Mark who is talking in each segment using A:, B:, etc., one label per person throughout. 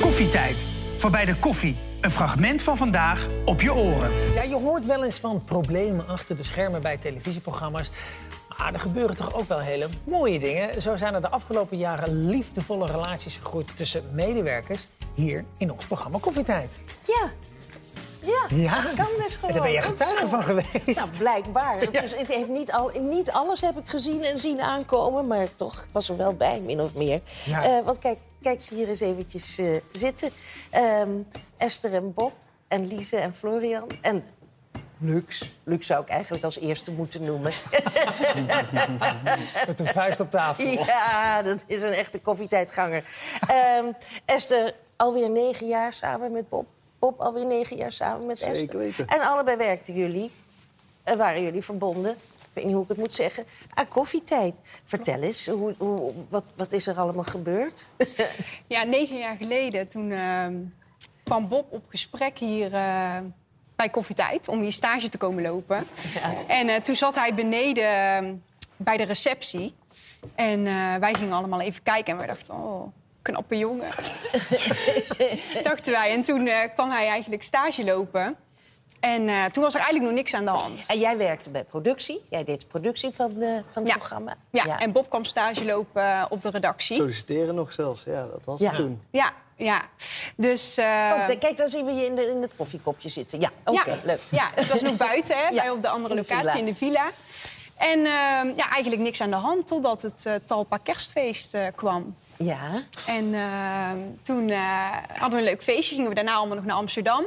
A: Koffietijd. Voorbij de koffie. Een fragment van vandaag op je oren.
B: Ja, je hoort wel eens van problemen achter de schermen bij televisieprogramma's. Maar er gebeuren toch ook wel hele mooie dingen. Zo zijn er de afgelopen jaren liefdevolle relaties gegroeid tussen medewerkers hier in ons programma Koffietijd.
C: Ja. Ja,
B: Ja.
C: dat kan dus
B: En
C: gewoon.
B: daar ben je
C: Dat
B: getuige
C: is
B: van
C: gewoon-
B: geweest.
C: Nou, blijkbaar. Dus het heeft niet, al, niet alles heb ik gezien en zien aankomen, maar toch was er wel bij, min of meer.
B: Ja.
C: Eh, want kijk, kijk ze hier eens eventjes eh, zitten. Ehm, Esther en Bob en Lise en Florian en Lux. Lux zou ik eigenlijk als eerste moeten noemen.
B: Met een vuist op tafel.
C: ja, dat is een echte koffietijdganger. Ehm, Esther alweer negen jaar samen met Bob. Bob alweer negen jaar samen met
D: Zeker
C: Esther.
D: weten.
C: En allebei werkten jullie, eh, waren jullie verbonden, ik weet niet hoe ik het moet zeggen, aan koffietijd. Vertel eens, hoe, hoe, wat, wat is er allemaal gebeurd?
E: Ja, negen jaar geleden toen ehm, kwam Bob op gesprek hier eh, bij Koffietijd om hier stage te komen lopen. En eh, toen zat hij beneden ehm, bij de receptie. En eh, wij gingen allemaal even kijken en wij dachten, oh, knappe jongen. dachten wij. En toen eh, kwam hij eigenlijk stage lopen. En eh, toen was er eigenlijk nog niks aan de hand.
C: En jij werkte bij productie, jij deed de productie van, eh, van het
E: Ja.
C: programma.
E: Ja, en Bob kwam stage lopen eh, op de redactie.
D: Solliciteren nog zelfs, ja, dat was
C: Ja.
D: het toen.
E: Ja, ja. Dus... eh,
C: Oh, da- kijk, dan zien we je in, de, in het koffiekopje zitten. Ja, Oh, oké,
E: ja,
C: leuk.
E: Ja, het was nog buiten, hè,
C: Ja,
E: bij op de andere
C: in de
E: locatie,
C: villa.
E: in de villa. En ehm, ja, eigenlijk niks aan de hand, totdat het eh, Talpa kerstfeest eh, kwam.
C: Ja.
E: En ehm, toen eh, hadden we een leuk feestje, gingen we daarna allemaal nog naar Amsterdam.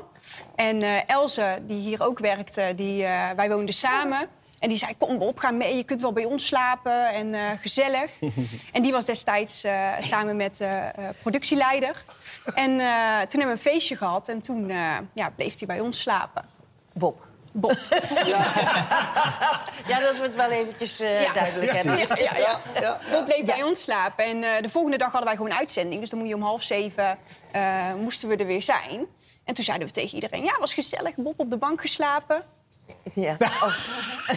E: En eh Elze, die hier ook werkte, die, eh, wij woonden samen. En die zei, kom op, ga mee, je kunt wel bij ons slapen en eh, gezellig. en die was destijds eh, samen met eh eh, productieleider. En eh, toen hebben we een feestje gehad en toen eh, ja, bleef hij bij ons slapen.
C: Bob.
E: Bob.
C: Ja, dat we het wel eventjes eh,
E: Ja.
C: duidelijk hebben.
E: Ja, ja, ja. Bob bleef bij
C: Ja.
E: ons slapen. En eh, de volgende dag hadden wij gewoon uitzending. Dus dan moet je om half zeven eh, moesten we er weer zijn. En toen zeiden we tegen iedereen: Ja, was gezellig. Bob op de bank geslapen.
C: Ja. Oh.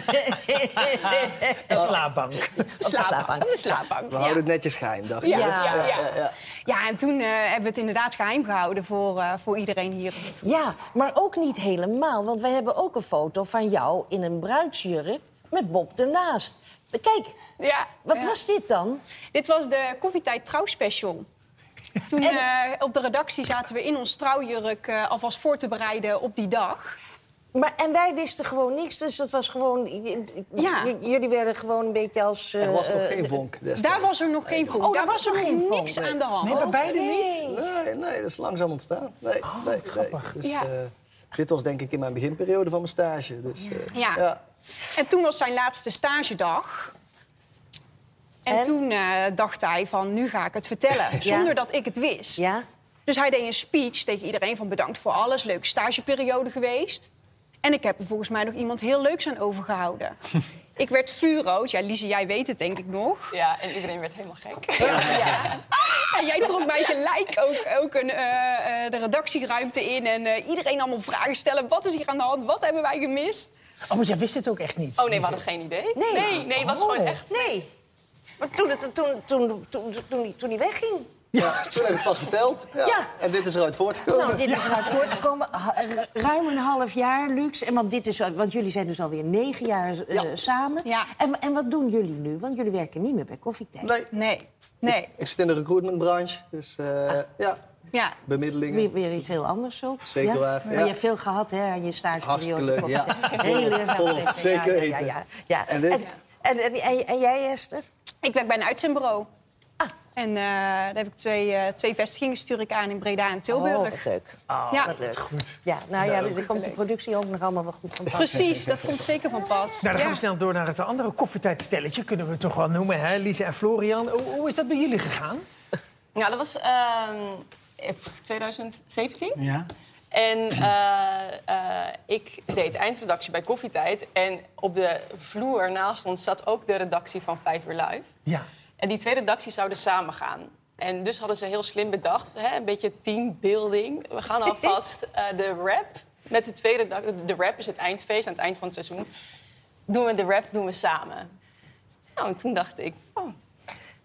B: Een slaapbank. Oh,
C: slaapbank.
E: Op de slaapbank.
D: We
E: Ja.
D: houden het netjes geheim, dacht ik.
E: Ja, ja,
C: Ja,
E: ja, Ja, en toen eh, hebben we het inderdaad geheim gehouden voor, eh, voor iedereen hier.
C: Ja, maar ook niet helemaal. Want wij hebben ook een foto van jou in een bruidsjurk met Bob ernaast. Kijk,
E: Ja,
C: wat
E: ja.
C: was dit dan?
E: Dit was de Koffietijd Trouwspecial. Toen eh, op de redactie zaten we in ons trouwjurk eh, alvast voor te bereiden op die dag.
C: Maar, en wij wisten gewoon niks, dus dat was gewoon... j-
E: Ja.
C: j- Jullie werden gewoon een beetje als... eh,
D: Er was nog
C: eh,
D: geen vonk destijds.
E: Daar was er nog geen vonk.
C: daar
E: Oh, Daar
C: was
E: was er
C: nog geen
E: nog
C: vonk,
E: niks
C: nee.
E: aan de hand.
B: Nee, maar beide niet.
D: Nee, nee, dat is langzaam ontstaan. Nee, nee, nee. Dus,
E: Ja.
D: eh, dit was denk ik in mijn beginperiode van mijn stage. Dus, eh,
E: Ja. En toen was zijn laatste stagedag. En,
C: En?
E: toen eh, dacht hij van, nu ga ik het vertellen. Zonder dat ik het wist.
C: Ja?
E: Dus hij deed een speech tegen iedereen van bedankt voor alles. Leuke stageperiode geweest. En ik heb er volgens mij nog iemand heel leuks aan overgehouden. ik werd vuurrood. Ja, Lise, jij weet het denk ik nog.
F: Ja, en iedereen werd helemaal gek.
E: En jij trok mij gelijk ook, ook een, eh, eh, de redactieruimte in. En eh, iedereen allemaal vragen stellen. Wat is hier aan de hand? Wat hebben wij gemist?
B: Oh, want jij wist het ook echt niet. Nou,
F: Oh nee, we hadden geen idee.
C: Nee.
F: nee, nee, het was
B: Oh.
F: gewoon echt.
C: Nee. Maar toen, het- toen, toen, toen, toen, die- toen die wegging...
D: Ja, toen heb ik het pas verteld. Ja.
C: Ja.
D: En dit is eruit voortgekomen.
C: Nou, dit is eruit voortgekomen. Ha- ru- Ruim een half jaar, Lux. En want, dit is, al- want jullie zijn dus alweer negen jaar eh, samen.
E: Ja.
C: En, en wat doen jullie nu? Want jullie werken niet meer bij Koffietijd.
D: Nee,
E: Nee. Nee.
D: ik zit in de recruitmentbranche. Dus eh, ja,
E: Ja,
D: bemiddelingen.
C: Weer, weer iets heel anders ook.
D: Zeker
C: ja?
D: waar,
C: Maar
D: ja.
C: je hebt veel gehad hè, aan je
D: Hartstikke
C: stageperiode.
D: leuk, ja.
C: Heel leerzaam.
D: Volop,
C: geweest, ja,
D: zeker
C: ja, ja,
D: weten.
C: ja, ja. En,
D: En
C: en,
D: dit?
C: en, en- en jij, Esther?
E: Ik werk bij een uitzendbureau.
C: Ah.
E: En eh, daar heb ik twee, eh, twee vestigingen stuur ik aan in Breda en
C: Oh,
E: Tilburg.
C: wat leuk.
E: ja,
C: Wat leuk. Ja, nou ja, daar komt de productie ook nog allemaal wel goed van pas.
E: precies. Dat komt zeker van pas.
B: Nou, dan gaan
E: Ja.
B: we snel door naar het andere koffietijdstelletje, kunnen we het toch wel noemen, hè? Lise en Florian. Hoe, hoe is dat bij jullie gegaan?
F: Ja, Nou, dat was ehm, eh, 2017.
G: Ja.
F: En eh, eh, ik deed eindredactie bij Koffietijd. En op de vloer naast ons zat ook de redactie van Vijf Uur Live.
B: Ja.
F: En die twee redacties zouden samen gaan. En dus hadden ze heel slim bedacht, hè, een beetje teambuilding. We gaan alvast eh, de rap met de twee redacties. De rap is het eindfeest aan het eind van het seizoen. Doen we de rap, doen we samen. Nou, en toen dacht ik, oh,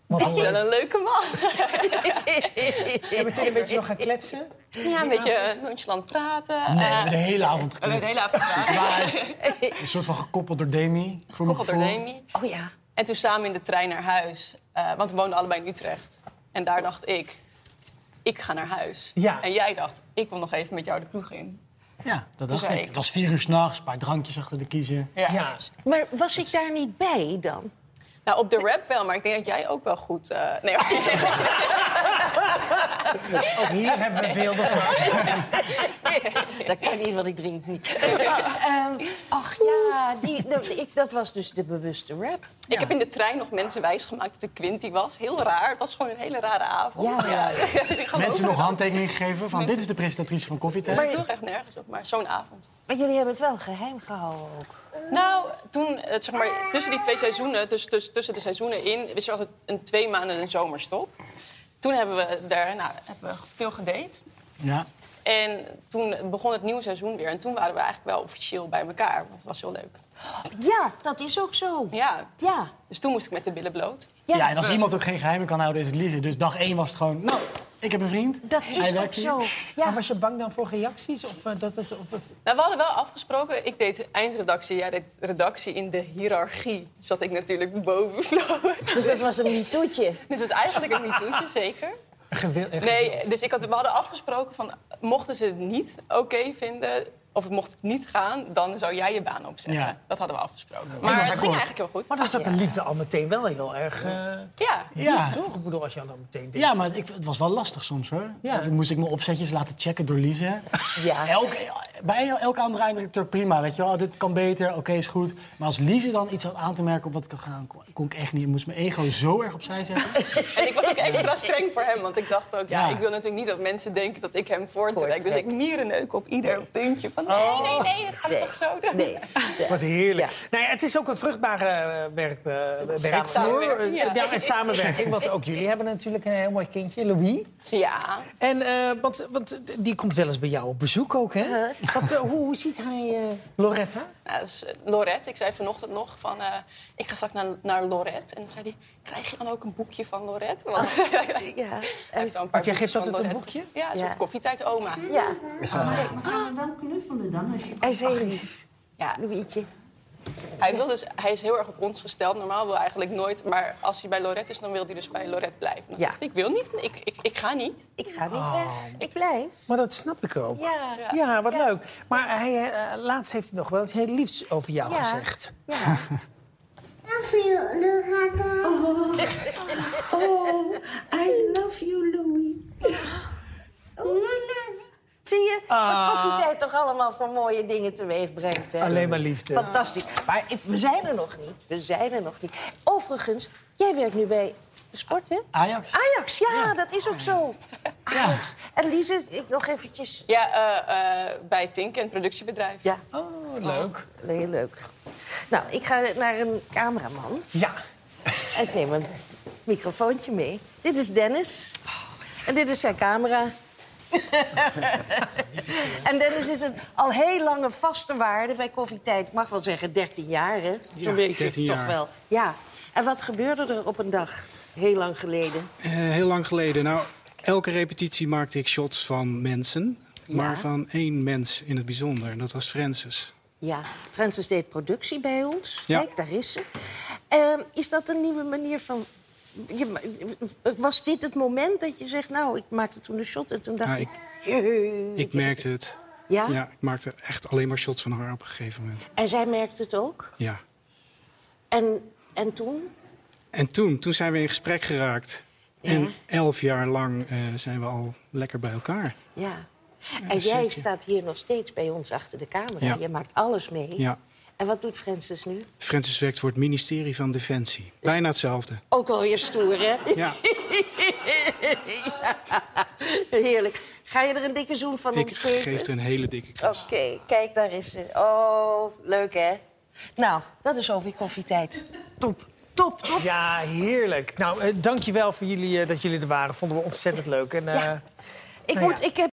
B: Want-
F: dat is wel een leuke man.
B: En meteen een beetje nog gaan kletsen.
F: Ja, een beetje eh, nonchalant praten.
G: Nee, we
F: Eh,
G: hebben de hele avond
F: we hebben de
G: gekletst.
F: hele avond gepraat.
G: Maar hij is een soort van gekoppeld door Demi. Voor mijn
F: Koppel door
G: gevoel.
F: Demi.
C: Oh ja.
F: En toen samen in de trein naar huis. eh, want we woonden allebei in Utrecht. En daar dacht ik, ik ga naar huis.
B: Ja.
F: En jij dacht, ik wil nog even met jou de kroeg in.
G: Ja, dat dacht
F: zei
G: ik.
F: ik.
G: Het was vier uur s'nachts, een paar drankjes achter de kiezen.
B: Ja.
C: Maar was ik daar niet bij dan?
F: Nou, op de rap wel, maar ik denk dat jij ook wel goed... eh, nee,
B: Ook hier hebben we beelden van.
C: Dat kan niet, want ik drink niet. Ehm, ach ja, die, dat, ik, dat was dus de bewuste rap.
F: ik heb in de trein nog mensen wijsgemaakt dat ik Quinty was. Heel raar. Het was gewoon een hele rare avond.
C: Ja.
F: Die gaan
G: Mensen
F: ook-
G: nog handtekeningen gegeven van dit is de presentatrice van Koffietijd.
F: Maar toch echt nergens op, maar zo'n avond.
C: Maar jullie hebben het wel geheim gehouden ook.
F: Nou, toen, eh, zeg maar, tussen die twee seizoenen, tussen, tussen, tussen de seizoenen in, is er altijd een twee maanden een zomerstop. Toen hebben we daar, nou, hebben we veel gedate.
G: Ja.
F: En toen begon het nieuwe seizoen weer. En toen waren we eigenlijk wel officieel bij elkaar, want het was heel leuk.
C: Ja, dat is ook zo.
F: Ja,
C: Ja.
F: dus toen moest ik met de billen bloot.
G: Ja,
C: Ja,
G: en als iemand ook geen geheimen kan houden, is het Lise. Dus dag één was het gewoon, nou, ik heb een vriend.
C: dat
G: Hij
C: is ook
G: werkt hier.
C: zo.
B: Maar
C: Ja.
B: was je bang dan voor reacties? Of, eh, dat het, of het...
F: Nou, we hadden wel afgesproken, ik deed eindredactie, jij deed redactie in de hiërarchie. Zat ik natuurlijk boven Flo.
C: Dus dat was een mitoetje.
F: Dus het was eigenlijk een mitoetje, zeker.
B: Gewil... eh,
F: Nee, dus ik had, we hadden afgesproken van mochten ze het niet oké vinden of mocht het niet gaan, dan zou jij je baan opzeggen.
G: Ja.
F: Dat hadden we afgesproken.
G: was
F: Maar het ging
G: akkoord.
F: eigenlijk heel goed.
B: Maar dan zat de liefde al meteen wel heel erg... eh,
F: Ja.
G: Ja.
B: Toch? Ik bedoel, als je al dan meteen denkt...
G: Ja, maar ik, het was wel lastig soms hoor.
B: Ja.
G: Dan moest ik mijn opzetjes laten checken door Lise.
C: Ja.
G: Elk, bij elke andere eindredacteur prima, weet je wel. Dit kan beter, oké, is goed. Maar als Lise dan iets had aan te merken op wat ik had gedaan, kon, kon ik echt niet. Ik moest mijn ego zo erg opzij zetten.
F: En ik was ook extra streng voor hem, want ik dacht ook, ja,
G: Ja.
F: ik wil natuurlijk niet dat mensen denken dat ik hem voortrek. Dus ik mierenneuk op ieder puntje van nee, nee, nee, het gaat
C: Nee.
F: toch zo doen.
C: Nee.
B: Wat heerlijk.
C: Ja.
B: Nou ja, het is ook een vruchtbare eh, werk, eh, werkvloer.
F: Samenwerking, ja.
B: Eh, ja, en samenwerking. Want ook jullie hebben natuurlijk een heel mooi kindje, Louis.
F: Ja.
B: En, eh, want, want die komt wel eens bij jou op bezoek ook, hè? Wat, eh, hoe, hoe ziet hij eh, Loretta?
F: Nou, dat is, eh, Lorette, ik zei vanochtend nog van, eh, ik ga straks naar, naar Lorette. En dan zei hij, krijg je dan ook een boekje van Lorette? Want
C: Ja.
F: Hij heeft wel een paar
B: Want jij geeft
F: boekjes van
B: altijd een
F: Lorette.
B: boekje?
F: Ja, een
C: Ja.
F: soort koffietijd oma.
C: ja.
H: Ah, wel knuffelen dan als je
C: Hij is heel lief,
F: Ja,
C: Louietje.
F: hij, wil dus, hij is heel erg op ons gesteld. Normaal wil hij eigenlijk nooit. Maar als hij bij Lorette is, dan wil hij dus bij Lorette blijven. Dan
C: Ja.
F: zegt hij, ik wil niet, ik, ik, ik ga niet.
C: Ik ga niet
G: Oh.
C: weg. Ik blijf.
B: Maar dat snap ik ook. Ja,
C: Ja. Ja.
B: wat leuk. Maar hij, eh, laatst heeft hij nog wel iets heel liefs over jou
C: Ja.
B: gezegd.
H: Oh, I love you, Louis.
C: Zie je
G: Ah.
C: wat koffietijd toch allemaal voor mooie dingen teweeg brengt? Hè?
B: Alleen maar liefde.
C: Fantastisch. Maar ik- we zijn er nog niet. We zijn er nog niet. Overigens, jij werkt nu bij Sport, hè?
G: Ajax.
C: Ajax, ja, dat is ook zo. Ajax. En Lize, ik nog eventjes...
F: Ja, eh, eh, bij Tink, een productiebedrijf.
C: Ja,
B: Oh, leuk.
C: heel leuk. Nou, ik ga naar een cameraman.
B: Ja.
C: En ik neem een microfoontje mee. Dit is Dennis. En dit is zijn camera. en Dennis is een al heel lange vaste waarde bij Koffietijd. Ik mag wel zeggen 13 jaar, hè?
G: Ja,
C: Zo'n beetje
I: 13
C: toch
I: jaar.
C: wel. Ja. En wat gebeurde er op een dag heel lang geleden?
I: Eh, heel lang geleden. Nou, elke repetitie maakte ik shots van mensen. Maar van één mens in het bijzonder. En dat was Francis.
C: Ja, Francis deed productie bij ons.
I: Ja.
C: Kijk, daar is ze. Ehm, is dat een nieuwe manier van... je ma- was dit het moment dat je zegt... nou, ik maakte toen een shot en toen dacht
I: Ja,
C: ik...
I: ik-
C: "Jee."
I: Ik merkte het.
C: Ja?
I: Ja, ik maakte echt alleen maar shots van haar op een gegeven moment.
C: En zij merkte het ook?
I: Ja.
C: En, en toen?
I: En toen, toen zijn we in gesprek geraakt.
C: Ja.
I: En elf jaar lang eh, zijn we al lekker bij elkaar.
C: Ja. En jij
I: zeker.
C: staat hier nog steeds bij ons achter de camera.
I: Ja.
C: Je maakt alles mee.
I: Ja.
C: En wat doet Francis nu?
I: Francis werkt voor het ministerie van Defensie. Bijna hetzelfde.
C: Ook wel weer stoer, hè?
I: Ja,
C: Heerlijk. Ga je er een dikke zoen van
I: ik
C: ons geven?
I: geef er een hele dikke kus.
C: Oké, kijk, daar is ze. Oh, leuk, hè? Nou, dat is over koffietijd. Top, top, top.
B: Ja, heerlijk. Nou, eh, dankjewel voor jullie eh, dat jullie er waren. Vonden we ontzettend leuk. En, eh,
C: Ik,
B: Nou
C: moet,
B: ja.
C: ik heb